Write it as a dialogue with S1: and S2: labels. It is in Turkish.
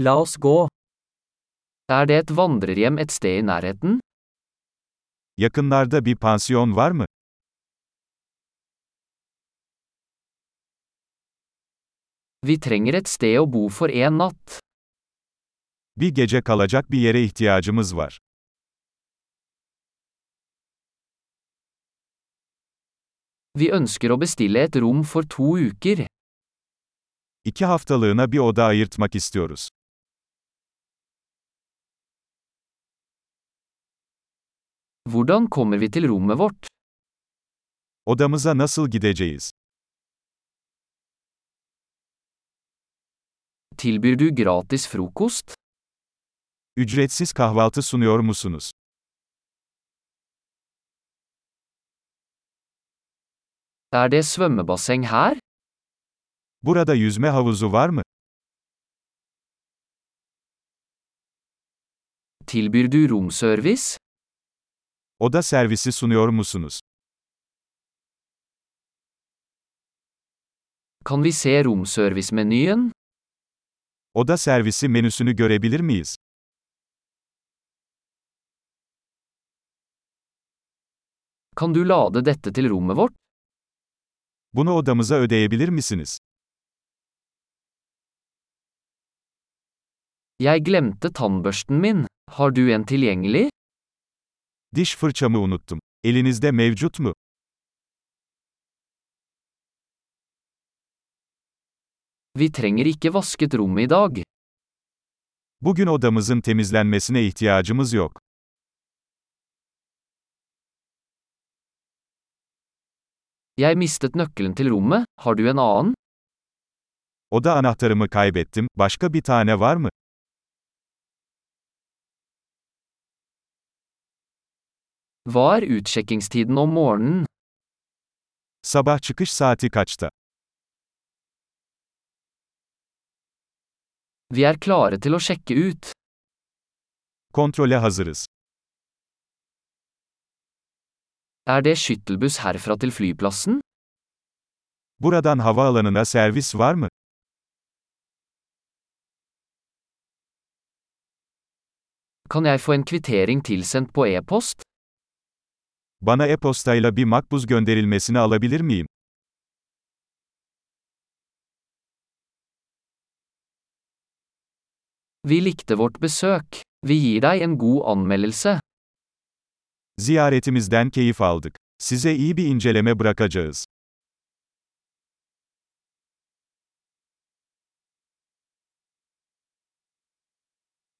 S1: La oss gå. Er det et vandrerhjem et sted i nærheten?
S2: Yakınlarda bir pansiyon var mı?
S1: Vi trenger et sted å bo for en natt.
S2: Bir gece kalacak bir yere ihtiyacımız var.
S1: Vi ønsker å bestille et rom for to uker.
S2: İki haftalığına bir oda ayırtmak istiyoruz.
S1: Hvordan kommer vi til rommet vårt?
S2: Odamıza nasıl gideceğiz?
S1: Tilbyr du gratis frokost?
S2: Ücretsiz kahvaltı sunuyor musunuz?
S1: Er det svømmebasseng her?
S2: Burada yüzme havuzu var mı?
S1: Tilbyr du romservice?
S2: Oda servisi sunuyor musunuz?
S1: Kan vi se romservice-menyen?
S2: Oda servisi menüsünü görebilir miyiz?
S1: Kan du lade dette til rommet vårt?
S2: Bunu odamıza ödeyebilir misiniz?
S1: Jeg glemte tannbørsten min. Har du en tilgjengelig?
S2: Diş fırçamı unuttum. Elinizde mevcut mu?
S1: Vi trenger ikke vasket rommet i dag.
S2: Bugün odamızın temizlenmesine ihtiyacımız yok.
S1: Jeg mistet nøkkelen til rommet. Har du en annen?
S2: Oda anahtarımı kaybettim. Başka bir tane var mı?
S1: Hva er utsjekkingstiden om morgenen?
S2: Sabah çıkış saati kaçta?
S1: Vi er klare til å sjekke ut.
S2: Kontrole hazırız.
S1: Er det skyttelbuss herfra til flyplassen?
S2: Buradan havaalanına servis var mı?
S1: Kan jeg få en kvittering tilsendt på e-post?
S2: Bana e-postayla bir makbuz gönderilmesini alabilir miyim?
S1: Vi likte vårt besøk. Vi gir deg en god anmeldelse.
S2: Ziyaretimizden keyif aldık. Size iyi bir inceleme bırakacağız.